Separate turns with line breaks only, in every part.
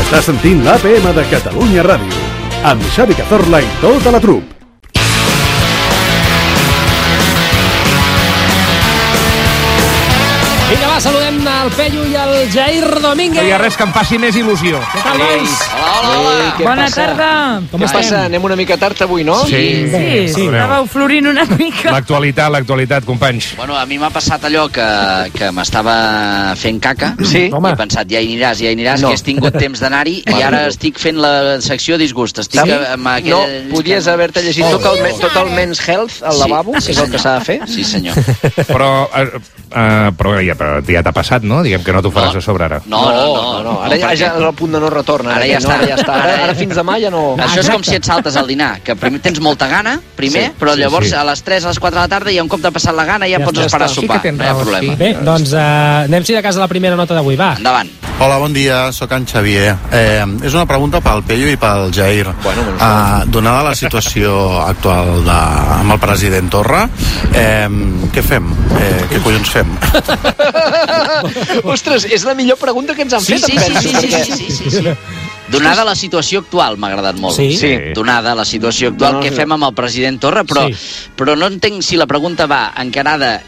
Està sentint l'APM de Catalunya Ràdio, amb Xavi Cazorla i tota la trup.
Vinga, va, saludem el Peyu i el Jair
No
Domínguez.
hi ha res que em faci més il·lusió.
Què tal, nois?
Hola, hola.
Què Bona passa? tarda.
Com
Què
estem?
passa? Anem una mica tard avui, no?
Sí, sí,
sí.
estàveu florint una mica.
L'actualitat, l'actualitat, companys.
Bueno, a mi m'ha passat allò que, que m'estava eh, fent caca
Sí.
i he pensat, ja hi aniràs, ja hi aniràs, no. que has tingut temps d'anar-hi i ara estic fent la secció disgust. Estic eh,
Sí?
amb Oh. aquell...
No, podies haver-te llegit tot el, me- tot el Men's Health al lavabo,
sí,
que és el que s'ha de fer.
Sí, senyor.
Però, eh, eh, però ja, ja t'ha passat, no? Diguem que no t'ho faràs
No.
a sobre ara.
No, no, no. no, no.
Ara ja, ja és el punt de no retorn.
Ara ja
no,
està.
Ara, ja està. Ara, ara fins demà ja no...
Això és com si et saltes al dinar, que primer tens molta gana, primer,
Sí,
però
sí,
llavors
sí.
a les 3, a les 4 de la tarda, i un cop t'ha passat la gana ja,
Ja
pots
està,
esperar
ja
a
està.
sopar,
Sí que tens
no hi ha
raó,
problema.
Bé, doncs uh, anem-s'hi de casa a la primera nota d'avui, va.
Endavant.
Hola, bon dia, sóc en Xavier. Eh, és una pregunta pel Pello i pel Jair. Bueno, eh, donada la situació actual de, amb el president Torra, eh, què fem? Eh, què collons fem?
Ostres, és la millor pregunta que ens han
Sí,
fet,
sí,
em
sí,
penso,
sí, sí,
perquè...
sí, sí, sí, sí. Donada la situació actual, m'ha agradat molt.
Sí? Sí.
Donada la situació actual,
No,
què
sí.
fem amb el president Torra? Però,
Sí.
però no entenc si la pregunta va encarada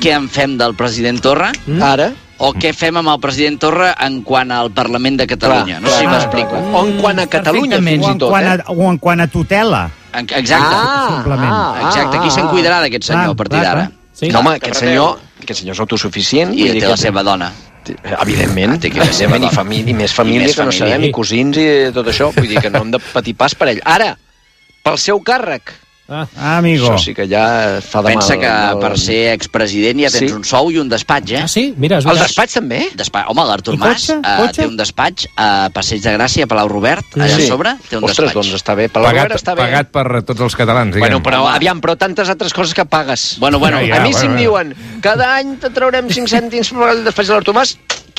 què en fem del president Torra
Ara,
o què fem amb el president Torra en quant al Parlament de Catalunya. no sé si m'explico.
O en quant a Catalunya,
Perfectament.
fins i tot,
o, en quant
eh?
a, o en quant a tutela.
En- Exacte.
Ah,
simplement.
Exacte, qui se'n cuidarà d'aquest senyor
Clar,
a partir
clar,
d'ara?
Sí?
No, home, aquest senyor, aquest senyor és autosuficient.
I
vull dir
té
que
la seva dona.
Ah, té- Evidentment,
Té que la seva
evidentment, i,
dona.
família, i més família,
I més
que no
família.
sabem, i cosins i tot això. Vull dir que no hem de patir pas per ell. Ara, pel seu càrrec.
Ah,
Ah, amigo.
Això sí que ja fa de mal.
Pensa que
al-
per ser expresident ja tens
Sí.
un sou i un despatx, eh?
ah sí? Mira, és
El
veritat.
despatx també?
Despatx. Home, l'Artur
I
Mas
cotxe?
eh,
Cotxe?
té un despatx a Passeig de Gràcia, a Palau Robert, allà a
Sí.
sobre té un
Ostres,
despatx.
doncs està bé. Palau
Pagat,
Robert està bé.
pagat per tots els catalans, diguem.
Bueno, però aviam, però tantes altres coses que pagues.
Bueno, bueno,
Ja,
a mi
bueno,
si em
bueno.
diuen cada any te traurem 5 cèntims per el despatx de l'Artur Mas...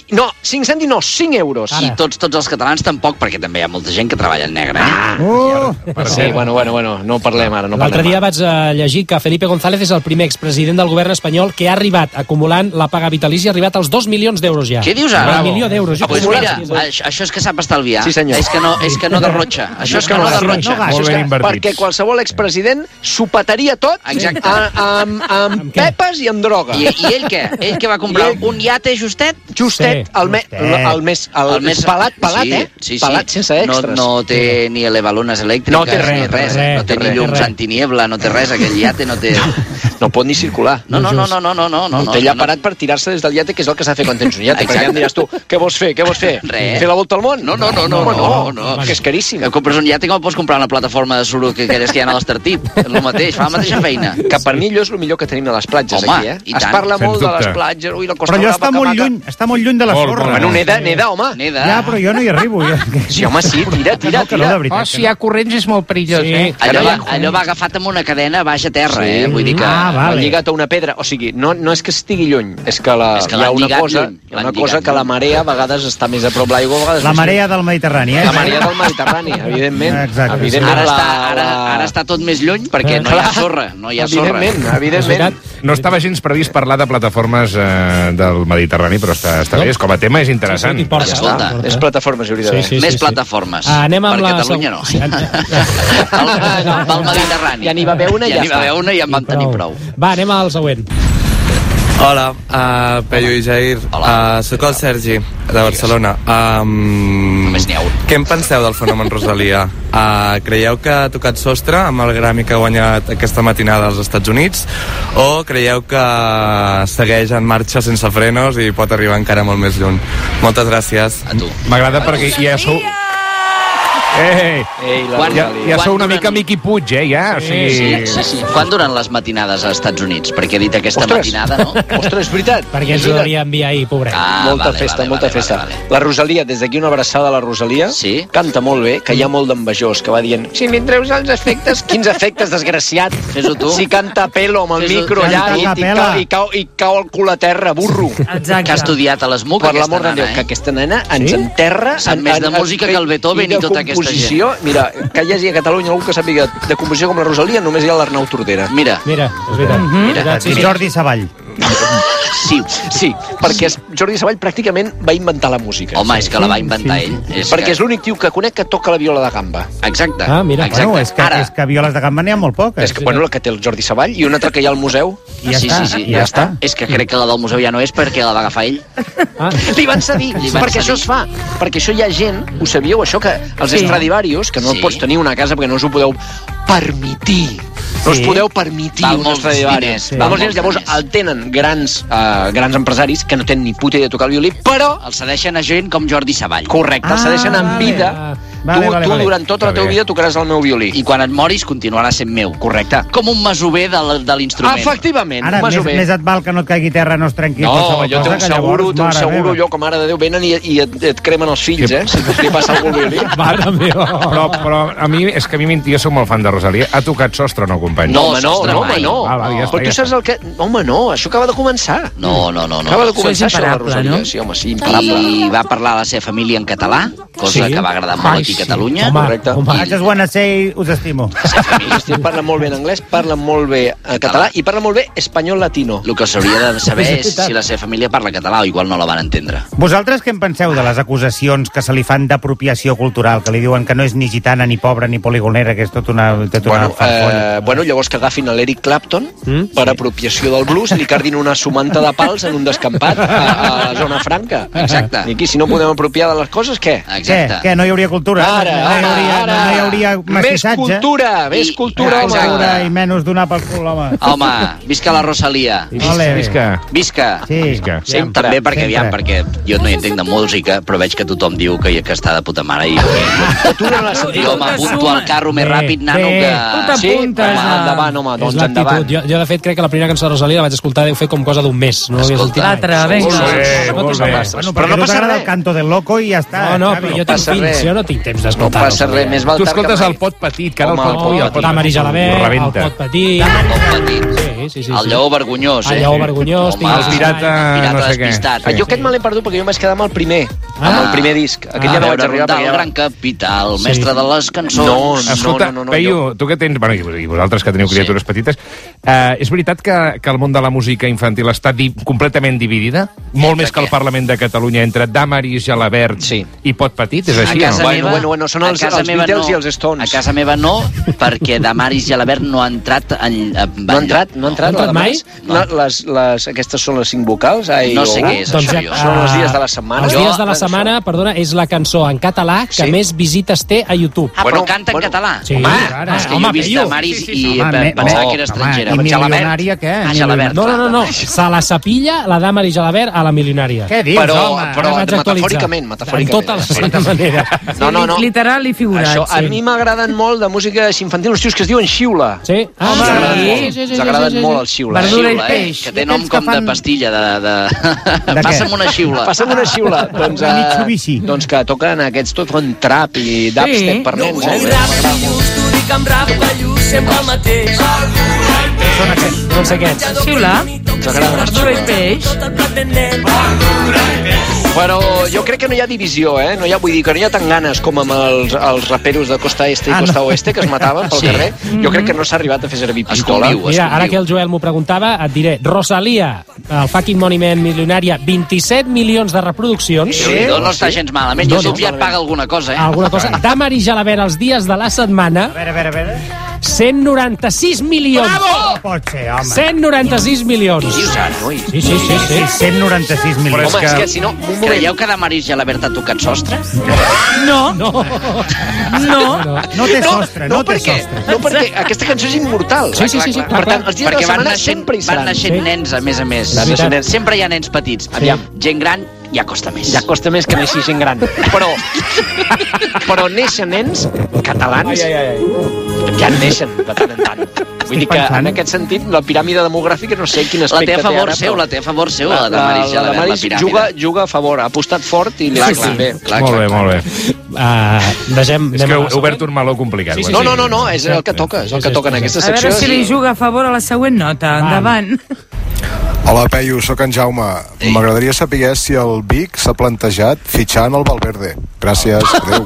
No, 5 cèntims no, 5 euros.
I tots, tots els catalans tampoc, perquè també hi ha molta gent que treballa en negre.
Ah.
Eh?
Oh,
Per
Sí,
cert,
bueno, bueno, bueno, no parlem ara, no
L'altre
parlem
dia
ara.
vaig eh, llegir que Felipe González és el primer expresident del govern espanyol que ha arribat, acumulant la paga vitalícia, ha arribat als 2 milions d'euros ja.
Què dius ara?
Oh. Un milió d'euros.
Ah,
Jo
pues
pensava
mira,
que sí, és-
això, això és que sap estalviar.
Sí, senyor.
És que no, és que no derrotxa. Això és que no
gasta,
derrotxa.
no gasta.
Això
molt
és
ben
que,
invertits.
perquè qualsevol expresident s'ho petaria tot
Exacte.
a- amb, amb,
Amb què?
pepes i amb droga.
I, I ell què? Ell que va comprar
I ell-
un iate justet?
Justet,
Sí,
el, me,
justet.
el, més, el, més palat, palat,
sí,
eh?
Sí, sí.
Palat sense extres.
No, no té ni elevalunes elèctriques,
No té res,
ni
no té
res,
res,
no té
no té
ni
res.
llums
Res.
antiniebla, no té res, aquell iate no té...
no pot ni circular.
No, no, no, no, no, no, no.
No,
no,
no, té allà
no.
parat per tirar-se des del iate, que és el que s'ha de fer quan tens un iate. Perquè
Exacte.
ja em diràs tu, què vols fer, què vols fer?
Res.
Fer la volta al món?
No, no, no, no,
Home,
no, no,
que és caríssim.
Que compres un iate com el pots comprar una plataforma de suro que aquelles que hi ha a l'Estartit. És el mateix, fa la mateixa feina.
Que per mi allò és el millor que tenim a les platges,
Home,
aquí, eh?
i
Es
tant.
parla
Sens
molt de les
dubte.
platges, ui, la Costa
però allò
Brava,
està
que
molt
maca.
lluny, està molt lluny de la
Molt,
sorra.
molt.
Bueno, neda, neda, home.
Neda.
Ja, però jo no hi arribo. Ja.
Sí, home, sí, tira, tira,
Que no,
tira. Oh,
de
Oh,
veritat. que no.
ha corrents és molt perillós,
Sí.
eh?
Allò va, allò va agafat amb una cadena baix a terra,
Sí.
eh? Vull dir que...
Ah,
Va
vale.
lligat a una pedra. O sigui, no, no és que estigui lluny, és que, la,
És
hi
que
ha
l'han
una
lligat
cosa,
lluny,
hi ha
l'han
una cosa
lligat
que la
lluny.
marea a vegades està més a prop l'aigua, a vegades
La
més
marea del Mediterrani, eh?
La marea del Mediterrani, evidentment.
Exacte.
evidentment
Ara,
la,
està, ara,
la-
ara està tot més lluny perquè no hi ha sorra, no hi ha sorra.
Evidentment, evidentment.
veritat.
No estava gens previst parlar de plataformes eh, del Mediterrani, però està, està bé, és com a tema és interessant.
Sí, sí, porta,
Ja està.
porta.
Ah, És plataformes, hi hauria d'haver.
Sí,
Més
sí.
plataformes.
Ah, anem amb
per
la
Catalunya no.
seg-
Pel, pel Mediterrani.
Ja n'hi va haver una i
ja
ja
n'hi va
està.
haver una i en vam tenir prou.
Va, anem al següent.
Hola, uh, Peyu i Jair. Uh, soc el Sergi, de Barcelona. Um,
Només n'hi ha un.
què en penseu del fenomen Rosalia? Uh, creieu que ha tocat sostre amb el Grammy que ha guanyat aquesta matinada als Estats Units? O creieu que segueix en marxa sense frenos i pot arribar encara molt més lluny? Moltes gràcies.
A tu.
M'agrada perquè ja sou... Eh, eh,
Ei, la
Quan-
ja,
Rosalia.
ja
Quan
sou una
duren-
mica Miqui Puig, eh, ja? O sigui...
Sí, sí, sí. Quan duren les matinades als Estats Units? Perquè he dit aquesta
Ostres.
matinada, no?
Ostres, és veritat.
Perquè
és
ens ho
veritat.
devia enviar ahir, pobret.
Ah,
molta
vale,
festa,
vale,
molta
vale,
festa.
vale, vale.
La Rosalia, des d'aquí una abraçada a la Rosalia,
Sí. Mm.
canta molt bé, que hi ha molt d'envejós, que va dient si li treus els efectes, quins efectes, desgraciat.
Fes-ho tu.
Si canta a pelo amb el
Fes-ho-
micro
Canta
allà i,
a
i,
capella.
cau, i, cau, i cau el cul a terra, burro.
Que
Exacte.
ha estudiat a l'ESMUC,
Per
aquesta
l'amor de
nana,
Déu,
eh?
que aquesta nena ens
Sí?
enterra...
Sap més de música que el Beethoven i
de
tota aquesta
composició, Mira, que hi hagi a Catalunya algú que sàpiga de composició
Ah.
com la Rosalia, només hi ha l'Arnau Tordera.
Mira,
Mira, és veritat.
mira.
I Jordi Savall.
Sí,
Sí, perquè es- Jordi Savall pràcticament va inventar la música.
home, és que la va inventar ell. És
perquè
que-
és l'únic tio que conec que toca la viola de gamba.
Exacte.
Ah, mira.
exacte.
Bueno, és que,
Ara,
és que violes de gamba n'hi ha molt poques.
És que, bueno, la que té el Jordi Savall i una altra que hi ha al museu.
I ja
sí,
està,
sí, sí,
i ja està.
És que crec que la del museu ja no és perquè la va agafar ell.
Ah,
Li van cedir,
Li
Li
van
van perquè
cedir.
això es fa. Perquè això hi ha gent, ho sabíeu, això que els
Sí.
sí. Stradivarius, que no
Sí.
sí. pots tenir una casa perquè no us ho podeu permitir. No us
Sí.
podeu permitir
Val
un
molts diners,
Stradivarius.
sí.
Val molts
Val molts
diners. Llavors
diners.
el tenen grans, eh, grans empresaris que no tenen ni puta idea de tocar el violí, però
el cedeixen a gent com Jordi Savall.
correcte, ah, se deixen en
vale.
vida.
Ah,
Vale, tu, vale, tu
vale.
durant tota la
Està
teva
bé.
vida tocaràs el meu violí.
I quan et moris continuarà sent meu.
Correcte.
Com un masover de, la- de l'instrument.
Efectivament,
Ara, més,
masover.
més et val que no et caigui terra, no es trenqui
No,
qualsevol
jo té
cosa,
un
que
seguro,
llavors,
té un
mare
seguro,
meva.
allò com ara de Déu, venen i, i et, et cremen els fills, eh? Si li passa algú el violí.
mare meva.
Però, però a mi, és que a mi m'int- jo sóc molt fan de Rosalia. Ha tocat sostre o no, company?
No,
home, no,
sostre,
no, home,
mai.
no.
Ah, va, ja està,
Però
ja
tu saps
està.
el que... Home, no, això acaba de començar.
No, no, no. no.
Acaba de
Això és
començar això, de la
imparable,
Rosalia.
no?
Sí, home, sí, imparable.
I va parlar a la seva família en català, cosa
Sí.
que va agradar molt
Ai,
aquí a
sí.
Catalunya.
Home,
correcte.
home.
I just wanna say, us estimo.
Estic parla molt bé en anglès, parla molt bé eh, català i parla molt bé espanyol latino.
El que s'hauria de saber
És
és
veritat.
si la seva família parla català o igual no la van entendre.
Vosaltres què en penseu de les acusacions que se li fan d'apropiació cultural, que li diuen que no és ni gitana, ni pobra, ni poligonera, que és tot una... Tot una
Bueno, eh, bueno, llavors que agafin a l'Eric Clapton
Mm?
mm? per apropiació del blues i li cardin una sumanta de pals en un descampat a, a la zona franca.
Exacte. Eh,
I aquí, si no podem apropiar de les coses, què?
Què?
Exacte.
Què? No hi hauria cultura?
Ara,
no hi
ara,
hauria,
ara.
No hi hauria
Més
mestissatge?
cultura, més
I-
cultura, home.
Més
Ah,
Exacte.
cultura I menys donar pel cul, home.
Home, visca la Rosalia.
Ole.
Visca.
Visca.
Sí.
Visca.
Sí,
Sempre,
també perquè, aviam,
sempre.
perquè jo no hi entenc de música, però veig que tothom diu que, que està de puta mare i
Tu no l'has
I
sentit,
home,
home.
apunto al carro més
Bé,
ràpid, nano,
bé.
que...
Tu t'apuntes
Sí? Home,
a-
endavant, home,
és
doncs
l'actitud.
endavant.
Jo, jo, de fet, crec que la primera cançó de Rosalia la vaig escoltar, deu fer com cosa d'un mes. No l'havia sentit mai.
L'altra, vinga.
Molt bé,
No
molt
passa
bé.
res.
Bueno,
Però
perquè
no
tu
passa
t'agrada
res.
el canto del loco i ja està.
No, no, però
Xavi.
jo tinc
passa
fills,
res.
jo no tinc temps
No
d'escoltar.
passa res, més val
Tu
tard que
escoltes
mai.
el pot petit, que ara el
Home,
pot petit...
No,
el pot
la Mari
petit ho
Gelabert, el
rebenta.
Pot Petit...
Molt petit.
Sí, sí, sí.
El
sí.
lleó vergonyós, eh?
El lleó vergonyós,
Home,
tinc
El pirata,
El pirata
no sé què.
despistat.
Ah, jo aquest me l'he perdut perquè jo em vaig quedar amb el primer, amb el
Ah.
primer disc. Aquest
Ah,
ja no
a
vaig
veure,
arribar
Rondal,
perquè...
gran capital, mestre de les cançons.
No, no.
Escolta, no, no, no, Peyu, tu que tens... Bueno, i- i vosaltres que teniu
Sí.
criatures petites, eh, és veritat que, que el món de la música infantil està di completament dividida? Molt més que el
què?
Parlament de Catalunya entre Damaris, Jalabert
Sí.
i Pot Petit, és
A
així?
casa
no?
Bueno,
meva,
bueno, bueno, són
a
els-
casa
els
meva
Beatles i els Stones.
A casa meva no, perquè Damaris Gelabert no ha entrat en... eh, Ah, en
No ha entrat, no ha entrat.
No ha entrat
la
mai?
Damaris. No, les, les, aquestes són les cinc vocals? Ai,
No sé
oh.
què és
Doncs
això,
ja-
jo.
Són els dies de la setmana.
Els
Jo-
dies de la
bueno,
setmana, perdona, és la cançó en català que
Sí.
més visites té a YouTube.
Ah, però
Bueno,
canta en
bueno.
català.
Sí,
home,
ara,
és que
home,
jo he vist
Peyu.
Damaris
Sí, sí,
i
sí,
home,
pe-
me-
pensava
no,
que era
home,
estrangera.
i
Home,
milionària, què?
Ah,
Ni
Gelabert.
No, no, no, no. Se la sapilla la dama i Gelabert a la milionària.
Què dius,
Però-
home?
però-
Ara vaig actualitzar.
metafòricament, metafòricament.
En totes les seves maneres.
No, no, no.
Literal i figurat.
Això, a
sí.
mi m'agraden molt de música infantil uns tios que es diuen xiula.
Sí? Ah,
Home,
Ens agraden
sí,
molt.
sí,
Ens agraden molt els xiules.
Verdura i
Xiula, eh?
peix.
Que té nom
Aquells que
com de
fan-
pastilla, de... de...
De
Passa'm
què?
una xiula.
Passa'm una xiula. Doncs,
De
eh,
Mitsubishi.
doncs que toquen aquests tot con trap i dubstep
Sí.
per nens. eh?
No sé què ets.
Xiula,
Ens agraden els
verdura i
xiules.
peix.
Però jo crec que no hi ha divisió, eh? No hi ha, vull dir que no hi ha tant ganes com amb els, els raperos de costa este i
Ah, no.
costa oeste que es mataven pel
Sí.
carrer. Jo crec que no s'ha arribat a fer servir
Es
pistola.
conviu,
Mira, ara
escolliu.
que el Joel m'ho preguntava, et diré, Rosalia, el fucking monument milionària, 27 milions de reproduccions.
Sí, no, no està gens malament. Jo
No, no.
sovint et paga alguna cosa, eh?
Alguna cosa. Dama i Gelabert els dies de la setmana,
A veure, a veure, a veure.
196 milions.
No pot ser, home.
196 milions.
Dius ara, noi.
Sí, sí, sí, sí.
196 milions.
Home,
que-
és que si no... Un moment.
Creieu que Damaris Gelabert ha tocat sostre?
No,
No.
no.
no.
No té sostre, no, té sostre.
No, perquè aquesta cançó és immortal.
Sí, sí, sí, sí, clar,
Per tant,
clar.
els dies de la
Perquè van
setmana
naixent,
sempre hi
van
seran.
naixent
Sí.
nens, a més a més.
Van naixent
nens.
Sempre hi ha nens petits. Aviam, gent gran ja costa més.
Ja costa més que neixi gent gran. Però, però neixen nens catalans ai, ai, ai. ja en neixen de tant en tant. Vull dir que
pensant.
en aquest sentit la piràmide demogràfica no sé quin
La
aspecte
té a
té
favor
ara,
seu, la té a favor seu, la,
La,
de
la,
Maris
la,
Gelabert, la,
Maris
piràmide.
juga, juga a favor, ha apostat fort i li ha
Clar,
anat bé.
clar, clar,
Molt bé,
clar.
molt bé.
Uh, deixem...
És
anem
que
a la
he obert
següent.
un meló complicat.
Sí, sí,
ho
No,
he
no,
dit.
no, no, és el que toca, és el que toca en aquesta
A
secció.
veure si li juga a favor a la següent nota. Endavant.
Hola, Peyu, sóc en Jaume.
Ei.
M'agradaria saber si el Vic s'ha plantejat fitxar en el Valverde. Gràcies, adeu.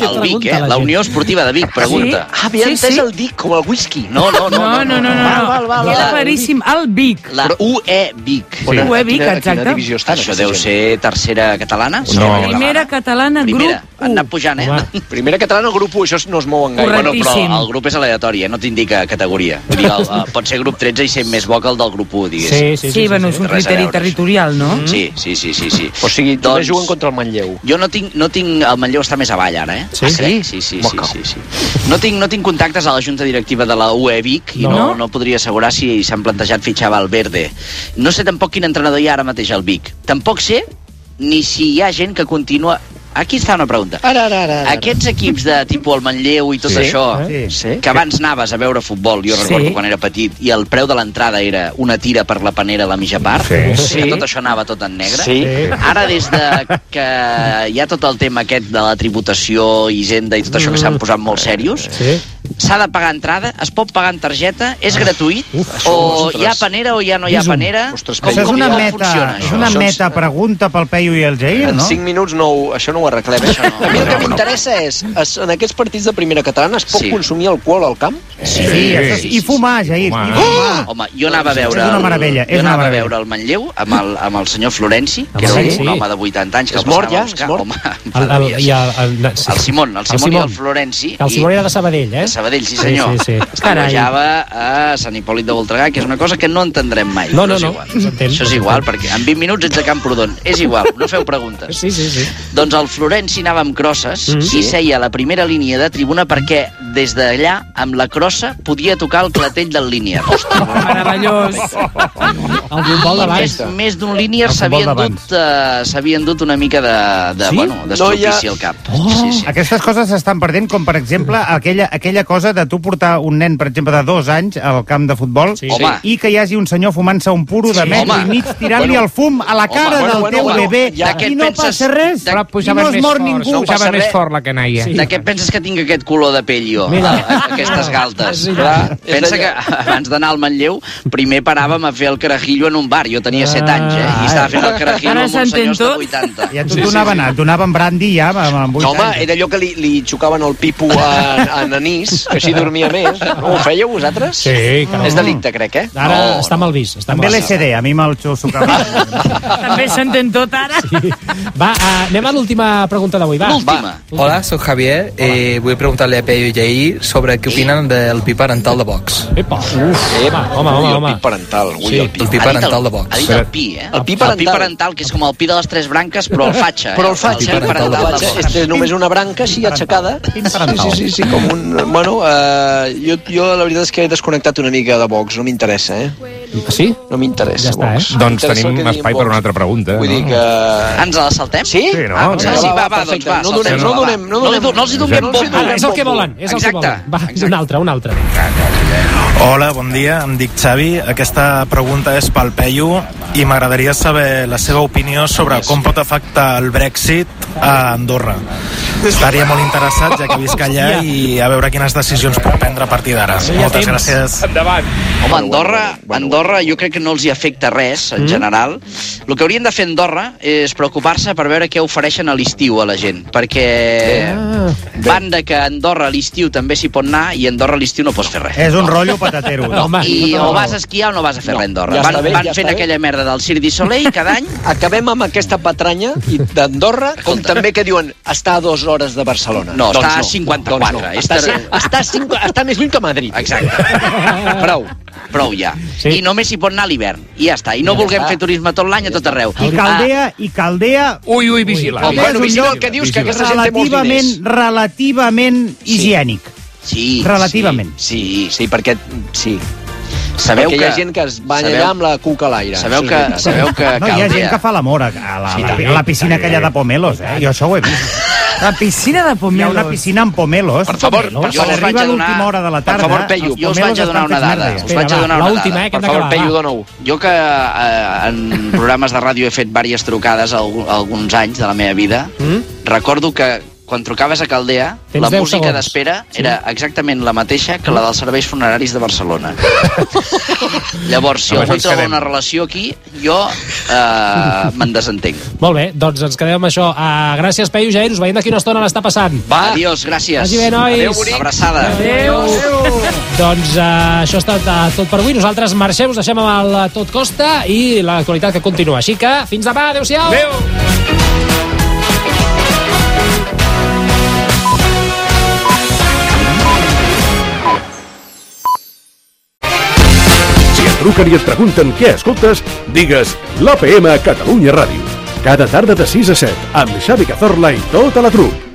El Vic, eh? La Unió Esportiva de Vic, pregunta.
Sí?
Ah, havia
Sí,
entès
sí.
el Vic com el whisky. No, no, no.
No, no, no, no.
Val, val, val,
Queda
val.
claríssim, el Vic.
La UE Vic.
Sí. UE Vic, exacte.
Això deu ser tercera catalana?
No.
segona
Primera catalana,
Primera,
grup
han anat pujant, eh? Primera catalana, grup 1, això no es mouen
gaire.
Bueno, però
Correctíssim.
el grup és aleatori, eh? no t'indica categoria. Vull dir, el, eh, pot ser grup 13 i ser més bo que el del grup 1, diguéssim.
Sí, bueno, és un
Res a
criteri
veure,
territorial, no?
Sí, sí, sí, sí, sí. Doncs- O sigui,
també juguen contra
el Manlleu. Jo no tinc, no tinc... El Manlleu està més avall ara, eh?
Sí?
Crec, Sí, sí, sí, sí, sí, sí. No tinc, no tinc contactes a la junta directiva de la UE Vic i
No?
no, no, podria assegurar si s'han plantejat fitxar Valverde. No sé tampoc quin entrenador hi ha ara mateix al Vic. Tampoc sé ni si hi ha gent que continua... Aquí està una pregunta.
Ara, ara, ara. ara.
Aquests equips de tipus el Manlleu i tot
Sí,
això,
eh?
sí. que abans anaves a veure futbol, jo
Sí.
recordo quan era petit, i el preu de l'entrada era una tira per la panera a la mitja part,
Sí.
que
Sí.
tot això anava tot en negre.
Sí.
Ara, des de que hi ha tot el tema aquest de la tributació, Hisenda i tot això
Mm.
que s'han posat molt serios, s'ha de pagar entrada, es pot pagar en targeta, és gratuït, o
ostres.
hi ha panera o ja no hi ha
És un-
panera. Ostres,
Això és una meta, és una meta pregunta pel Peyu i el Jair,
En
no?
cinc minuts Ah, no ho, això no ho arreglem, això no. A mi el que m'interessa és, es, en aquests partits de primera catalana es pot
Sí.
consumir alcohol al camp?
Sí, això és- I fumar, Jair, i
Ah.
fumar.
Home, jo anava a
És
veure...
una
el-
meravella, és
jo
una
anava a
meravella.
veure el Manlleu amb el, amb el senyor Florenci, que era
Home,
un,
Ah, sí.
un home de 80 anys que
És
el
mort
passava
ja?
a buscar.
És
Home,
El, el, i el, el, no, sí.
El Simón, el Simón i el Florenci.
El
I-
Simón era de Sabadell, eh?
de Sabadell, sí senyor.
Sí, sí, sí.
Allà a Sant Hipòlit de Voltregà, que és una cosa que no entendrem mai.
No,
però
no,
és
no,
igual.
s'entén.
Això és igual, perquè en 20 minuts ets a Camprodon. És igual, no feu preguntes.
Sí, sí, sí.
Doncs el Florenci anava amb crosses
Mhm.
i seia a la primera línia de tribuna perquè des d'allà, amb la crossa, podia tocar el clatell del línia.
Oh,
Ostres,
meravellós.
El futbol
més,
d'abans.
més d'un línia
El futbol
s'havien
d'abans.
dut, uh, s'havien dut una mica de, de
Sí?
bueno, d'estropici al cap.
Oh, sí, sí. Aquestes coses s'estan perdent, com per exemple aquella, aquella cosa de tu portar un nen, per exemple, de dos anys al camp de futbol sí.
Home.
i que hi hagi un senyor fumant-se un puro de
Sí.
metro
Home.
i mig tirant-li
Bueno.
el fum a la
Home.
cara
Bueno,
del
bueno,
teu
bueno.
bebè
Ja que
i no
penses-
passa res
Però
i no es mor ningú.
la canalla. Sí. De què penses que tinc aquest color de pell jo?
Mira.
Mira. Aquestes galtes.
Sí,
Clar,
és
pensa que
allà.
abans d'anar al Manlleu, primer paràvem a fer el carajillo en un bar. Jo tenia 7 anys, eh? I estava fent el carajillo
Ah. Ara
amb uns
s'entén
senyors de
tot.
80.
Ja t'ho sí, donaven, sí, sí. donaven brandy ja amb, amb 8
No, home,
anys.
era allò que li, li xocaven el pipo a, a Nanís, que així dormia més. No ho fèieu vosaltres?
Sí,
Ah.
clar.
És delicte, crec, eh?
Ara
Oh,
no, està mal vist. Està
Amb
mal vist.
LSD, a mi me'l xucava.
També s'entén tot ara.
Va, uh, anem a l'última pregunta d'avui, va.
Hola, soy Javier y voy a preguntarle a Peyu y Jair sobre qué opinan del pi parental de Vox.
Epa, uf,
Eh,
Epa,
home, home, home.
parental,
Ui, el pi.
el pi
Ha dit
parental de Vox.
Ha dit el pi, eh? El pi parental. El pi parental, que és com el pi de les tres branques, però el fatxa.
Però el faig,
El pi parental de Vox.
és només una branca així aixecada. Sí, sí, sí, sí, com un... Bueno, eh, jo, jo la veritat és que he desconnectat una mica de Vox, no m'interessa, eh?
Ah, Sí? eh?
No m'interessa, ja
Doncs
Vox. M'interessa el que
tenim
diguin
espai per una altra pregunta.
Vull dir que...
Ens la saltem?
Sí?
Eh, Sí, no,
Ah,
no.
doncs sí, va, va,
perfecte.
doncs va,
No donem,
saltem-la,
no
va.
donem, no donem.
No els hi donem
Exacte.
bombo.
Ah, és el que volen, és el que
Exacte.
volen. Va, un altre, un altre.
Hola, bon dia, em dic Xavi. Aquesta pregunta és pel Peyu i m'agradaria saber la seva opinió sobre com pot afectar el Brexit a Andorra. Estaria molt interessat, ja que visc allà, i a veure quines decisions pot prendre a partir d'ara. Moltes gràcies.
Endavant. Home, Andorra, Andorra jo crec que no els hi afecta res, en
Mm.
general. El que haurien de fer a Andorra és preocupar-se per veure què ofereixen a l'estiu a la gent, perquè van de que a Andorra a l'estiu també s'hi pot anar i a Andorra a l'estiu no pots fer res.
És un rotllo patatero.
Home, I o vas a esquiar o no vas a fer res a Andorra.
ja
van
està bé,
van
ja
fent
està bé.
aquella merda del Cirque du Soleil cada any.
Acabem amb aquesta patranya i d'Andorra, com també que diuen està a dues hores de Barcelona.
No, està a 54.
Doncs no. Està, a cin- està, a cinc, està més lluny que Madrid.
Exacte. Prou. Prou ja. Sí. I només s'hi pot anar a l'hivern. I ja està. I no
Ja
vulguem
està.
fer turisme tot l'any a tot arreu.
I Caldea, i Caldea...
Ui, ui,
vigila.
Caldea
Bueno,
és un
vigila el
lloc
que dius, que aquesta gent Ah, té molts
relativament,
diners.
relativament higiènic.
Sí,
Relativament.
Sí, sí, perquè... Sí. perquè
Sabeu que-
hi ha gent que es banya
sabeu-
allà amb la cuca a l'aire.
sabeu
Això és
que-
veritat.
sabeu que
No, hi ha gent que fa l'amor a, a, la,
Sí,
a,
també,
la, a la piscina
també.
aquella de Pomelos, eh? Jo això ho he vist.
La piscina de Pomelos.
Hi ha una piscina amb Pomelos.
Ah, Per favor,
Pomelos,
jo us
quan
vaig
arriba
a donar-
l'última hora de la
per
tarda...
favor, Peyu,
els
jo us
Pomelos
vaig a donar
estan
una
fets
dada,
merda.
us vaig a donar una dada. Per favor, Peyu,
dona-ho.
Jo que eh, en programes de ràdio he fet diverses trucades al, alguns anys de la meva vida, mm? recordo que quan trucaves a Caldea,
Tens
la
10
música
segons.
d'espera era exactament la mateixa que la dels serveis funeraris de Barcelona. Llavors, si
Amb això
algú
ens
troba
quedem.
una relació aquí, jo eh, me'n desentenc.
Molt bé, doncs ens quedem amb això. Uh, gràcies, Peyu Jair, us veiem d'aquí una estona, l'està passant.
Va, Adiós, gràcies.
Vagi bé, nois.
Adéu, bonics. Abraçada.
Adéu. Doncs uh, això ha estat uh, tot per avui. Nosaltres marxem, us deixem amb el eh, Tot Costa i l'actualitat que continua. Així que, fins demà, adéu-siau. Adéu.
Si et truquen i et pregunten què escoltes, digues l'APM Catalunya Ràdio. Cada tarda de 6 a 7, amb Xavi Cazorla i tota la trup.